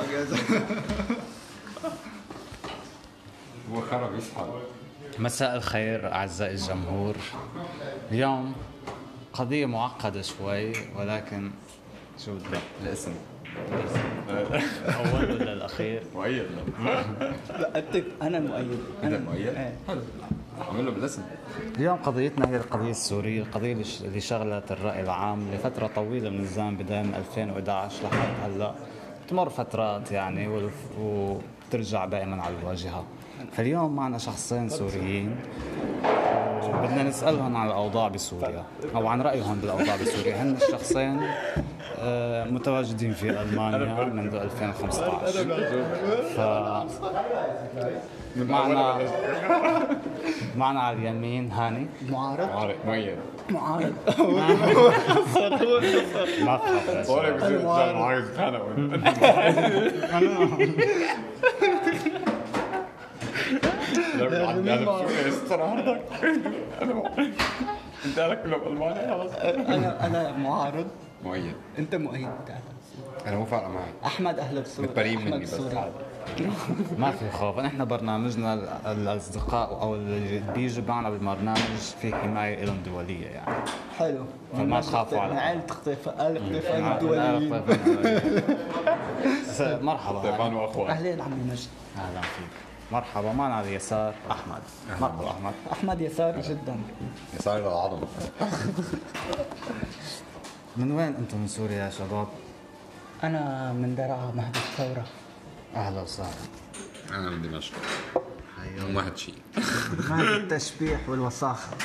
اجازه هو خرب يسحب مساء الخير أعزائي الجمهور اليوم قضية معقدة شوي ولكن شو بدي الاسم أول ولا الأخير مؤيد اتفق انا مؤيد انا مؤيد إيه. حلو عامل له بالاسم اليوم قضيتنا هي القضية السورية القضية اللي ش- اللي شغلت الرأي العام لفترة طويلة من الزمن بداية من 2011 لحد هلا تمر فترات يعني والف- وبترجع دائما على الواجهة فاليوم معنا شخصين سوريين بدنا نسالهم عن الاوضاع بسوريا او عن رايهم بالاوضاع بسوريا هن الشخصين آه، متواجدين في المانيا منذ 2015 ف معنا معنا على اليمين هاني معارض طارق مؤيد معارض ما تخاف طارق بصير يتجمع معاك ثانوي لا عندي انا بسوريا استر عندك انا مؤيد. انت انا كله بالمانيا خلاص انا انا معارض مؤيد انت مؤيد تعال انا مو فارقه معي احمد اهلا بسوريا متبرئين أحمد مني بس. سوري. ما في خوف نحن برنامجنا ال- الاصدقاء او اللي بيجوا معنا بالبرنامج في حمايه لهم دوليه يعني حلو فما تخافوا على- من عائلة خطيف آل خطيفان أنا- أنا- الدوليين س- مرحبا طيبان هاني. واخوان اهلين عمي مجد اهلا فيك مرحبا معنا على اليسار احمد مرحبا احمد احمد يساري جدا يسار العظمه من وين انتم من سوريا يا شباب؟ انا من درعا مهد الثوره اهلا وسهلا انا من دمشق ما حد شيء مهد التشبيح والوساخه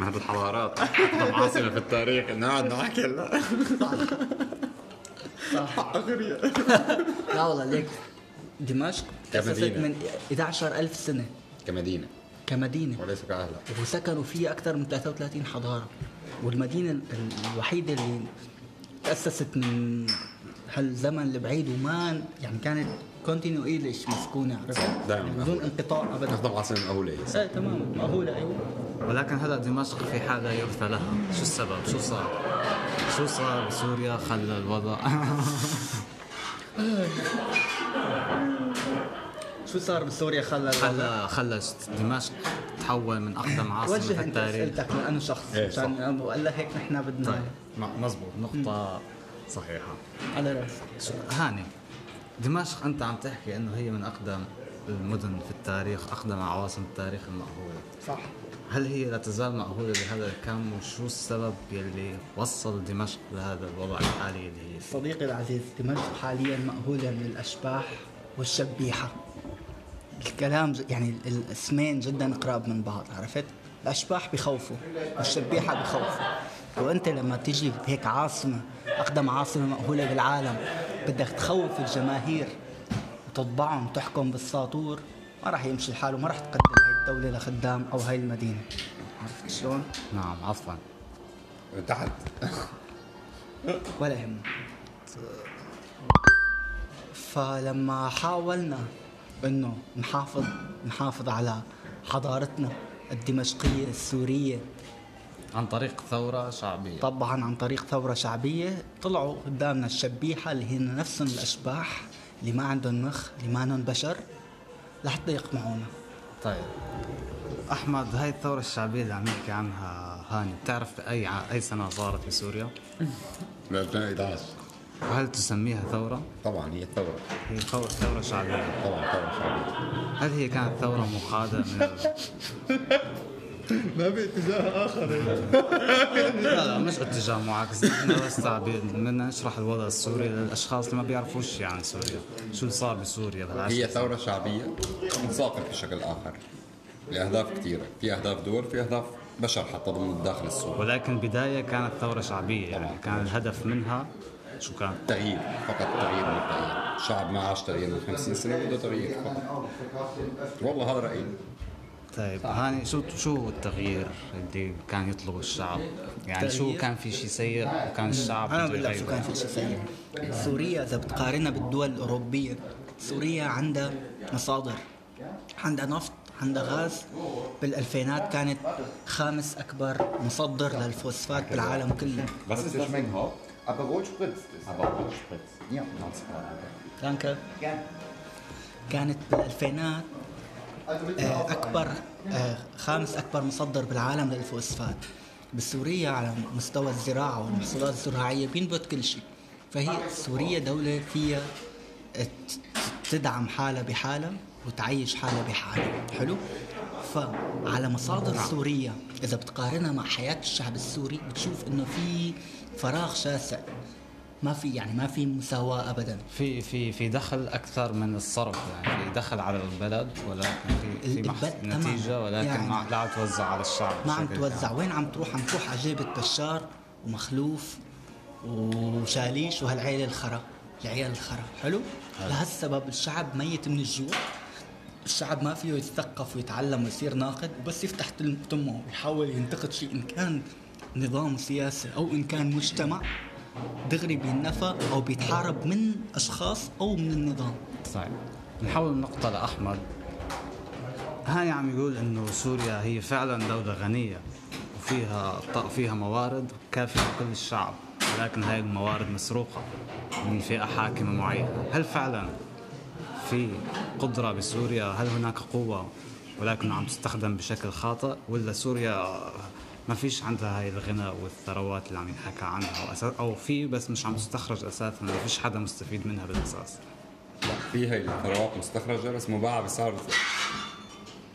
ما هذه الحوارات عاصمة في التاريخ نعم، نقعد نحكي هلا صح اخرية لا والله ليك دمشق تأسست كمدينة. من 11000 سنة كمدينة كمدينة وليس كأهلها وسكنوا فيها أكثر من 33 حضارة والمدينة ال- الوحيدة اللي تأسست من هالزمن البعيد وما يعني كانت كونتينويلش مسكونة عرفت؟ يعني دائماً بدون انقطاع أبدا تخدم عاصمة أولى هي ايه تمام مأهولة أيوه ولكن هلا دمشق في حال لا يرثى لها شو السبب شو صار شو صار بسوريا خلى الوضع شو صار بسوريا خلى خلى خلى دمشق تحول من اقدم عاصمه وجه في انت التاريخ اسئلتك لانه شخص إيه، صح. مشان ولا هيك نحن بدنا طيب مضبوط نقطه صحيحه على راسي شو- هاني دمشق انت عم تحكي انه هي من اقدم المدن في التاريخ اقدم عواصم التاريخ المأهوله صح هل هي لا تزال مأهولة بهذا الكم وشو السبب يلي وصل دمشق لهذا الوضع الحالي اللي هي فيه؟ صديقي العزيز دمشق حاليا مأهولة من الأشباح والشبيحة الكلام ج- يعني ال- الاسمين جدا قراب من بعض عرفت الأشباح بخوفوا والشبيحة بخوفوا وأنت لما تجي هيك عاصمة أقدم عاصمة مأهولة بالعالم بدك تخوف الجماهير وتطبعهم تحكم بالساطور ما راح يمشي الحال وما راح تقدم هاي الدولة لخدام أو هاي المدينة عرفت شلون؟ نعم عفوا تحت ولا يهمه فلما حاولنا انه نحافظ نحافظ على حضارتنا الدمشقية السورية عن طريق ثورة شعبية طبعا عن طريق ثورة شعبية طلعوا قدامنا الشبيحة اللي هن نفسهم الأشباح اللي ما عندهم مخ اللي ما عندهم بشر لحتى يقمعونا طيب أحمد هاي الثورة الشعبية اللي عم يحكي عنها هاني بتعرف أي ع- أي سنة صارت بسوريا؟ ب 2011 وهل تسميها ثورة؟ طبعا هي الثورة هي ثورة ثورة شعبية طبعا ثورة شعبية هل هي كانت ثورة مقادة من ال... ما باتجاه آخر لا لا مش اتجاه معاكس نحن بس تعبير بدنا نشرح الوضع السوري للاشخاص اللي ما بيعرفوا شيء عن سوريا شو اللي صار بسوريا هي بالعشر ثورة شعبية متساقط بشكل آخر لأهداف كثيرة في أهداف دول في أهداف بشر حتى ضمن الداخل السوري ولكن بداية كانت ثورة شعبية يعني كان الهدف منها شو كان؟ تغيير فقط تغيير مبدئيا الشعب ما عاش تغيير من 50 سنة بده تغيير فقط والله هذا رأيي طيب هاني شو شو التغيير اللي كان يطلبه الشعب؟ يعني شو تغيير؟ كان في شيء سيء وكان الشعب انا بده بقول لك شو يغيره؟ كان في شيء سيء سوريا اذا بتقارنها بالدول الاوروبيه سوريا عندها مصادر عندها نفط عندها غاز بالالفينات كانت خامس اكبر مصدر للفوسفات بالعالم كله بس استثمنها Aber Rot spritzt es. aber auch Spritz. Ja. دانكر Gerne. كانت بالالفينات Also mit dem آه، Auto اكبر آه، خامس اكبر مصدر بالعالم للفوسفات بسوريا على مستوى الزراعه والمحصولات الزراعيه بينبت كل شيء فهي سوريا دوله فيها آه، ت- تدعم حالها بحالها وتعيش حالها بحالها حلو فعلى مصادر سوريا اذا بتقارنها مع حياه الشعب السوري بتشوف انه في فراغ شاسع ما في يعني ما في مساواه ابدا في في في دخل اكثر من الصرف يعني في دخل على البلد ولكن في, في محص- البلد تمام. نتيجه ولكن يعني- ما لا توزع على الشعب ما عم بشكل توزع وين عم تروح عم تروح على جيبة بشار ومخلوف وشاليش وهالعيلة الخرا العيال الخرا حلو لهالسبب الشعب ميت من الجوع الشعب ما فيه يتثقف ويتعلم ويصير ناقد وبس يفتح تل- تمه ويحاول ينتقد شيء ان كان نظام سياسي او ان كان مجتمع دغري بينفى او بيتحارب من اشخاص او من النظام طيب نحول النقطة لأحمد هاني عم يقول إنه سوريا هي فعلا دولة غنية وفيها ط- فيها موارد كافية لكل الشعب ولكن هاي الموارد مسروقة من فئة حاكمة معينة هل فعلا في قدرة بسوريا هل هناك قوة ولكن عم تستخدم بشكل خاطئ ولا سوريا ما فيش عندها هاي الغنى والثروات اللي عم ينحكى عنها أو, أسا- أو في بس مش عم تستخرج أساسا ما فيش حدا مستفيد منها بالأساس في هي الثروات مستخرجه بس مباعه بسعر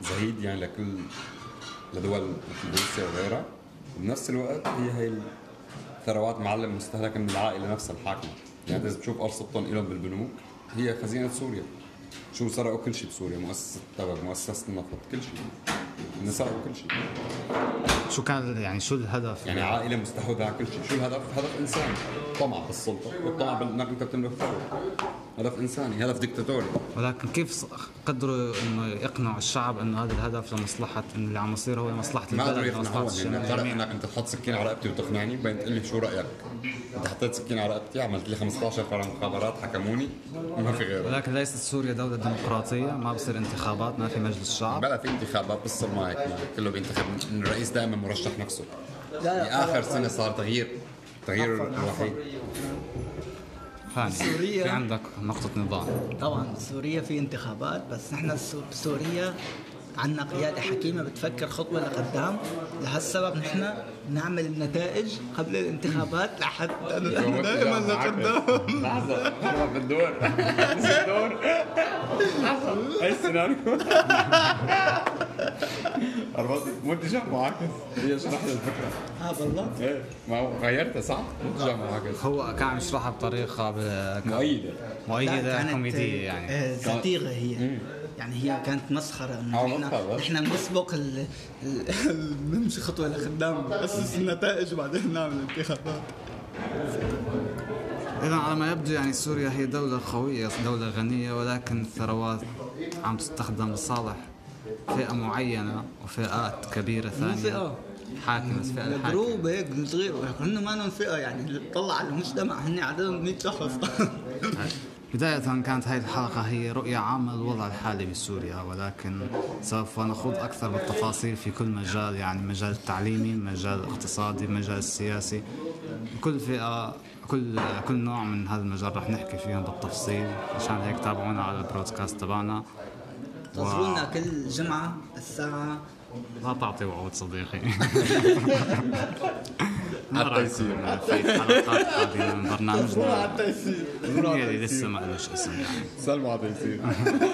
زهيد يعني لكل لدول مثل روسيا وغيرها وبنفس الوقت هي هي الثروات معلم مستهلكه من العائله نفسها الحاكمه يعني اذا بتشوف ارصدتهم الهم بالبنوك هي خزينه سوريا شو سرقوا كل شيء بسوريا مؤسسه التبغ مؤسسه النفط كل شيء سرقوا كل شيء شو كان يعني شو الهدف يعني عائله مستحوذه على كل شيء شو الهدف هدف انساني طمع أيوة. بالسلطه والطمع بانك انت بتملك ثروه هدف انساني هدف دكتاتوري ولكن كيف ص- قدروا انه يقنعوا الشعب انه هذا الهدف لمصلحه إنه اللي عم يصير هو مصلحه ما قدروا البلد مصلحه يقنعوني انك فرق الجميع انك انت تحط سكين على رقبتي وتقنعني بعدين تقول لي شو رايك انت حطيت سكين على رقبتي عملت لي 15 فرع مخابرات حكموني ما في غيره ولكن ليست سوريا دوله ديمقراطيه ما بصير انتخابات ما في مجلس شعب بلا في انتخابات بصر ما هيك ما كله بينتخب الرئيس دائما مرشح نفسه لا، يعني اخر سنه صار تغيير تغيير الوحيد هاني سوريا. في عندك نقطه نظام طبعا سوريا في انتخابات بس نحن السو- بسوريا عندنا قيادة حكيمة بتفكر خطوة لقدام لهالسبب نحن نعمل النتائج قبل الانتخابات لحتى نحن دائما لقدام لحظه لحظه بالدور بالدور اي سيناريو منتجع معاكس هي شرحت الفكره اه والله ايه ما هو غيرتها صح؟ منتجع معاكس هو كان عم يشرحها بطريقه ب- مؤيده لا، مؤيده كانت، كوميديه آه، يعني آه، زتيغة هي يعني هي كانت مسخرة آه، انه مسخرة. نحن نحن بنسبق ال- ال- نمشي خطوة لقدام نأسس النتائج وبعدين نعمل انتخابات اذا على ما يبدو يعني سوريا هي دوله قويه دوله غنيه ولكن الثروات عم تستخدم لصالح فئه معينه وفئات كبيره ثانيه فئة. حاكمه فئه الحاكمه جروب هيك صغير هن ما فئه يعني اللي بتطلع على المجتمع هن عددهم 100 شخص بداية كانت هذه الحلقة هي رؤية عامة للوضع الحالي بسوريا ولكن سوف نخوض أكثر بالتفاصيل في كل مجال يعني مجال التعليمي مجال الاقتصادي مجال السياسي كل فئة كل كل نوع من هذا المجال رح نحكي فيهم بالتفصيل عشان هيك تابعونا على البرودكاست تبعنا انتظرونا كل جمعه الساعه لا تعطي وعود صديقي حتى يصير. نراكم في حلقات قادمة من برنامجنا اللي لسه ما لهش اسم يعني سلمى عطيتي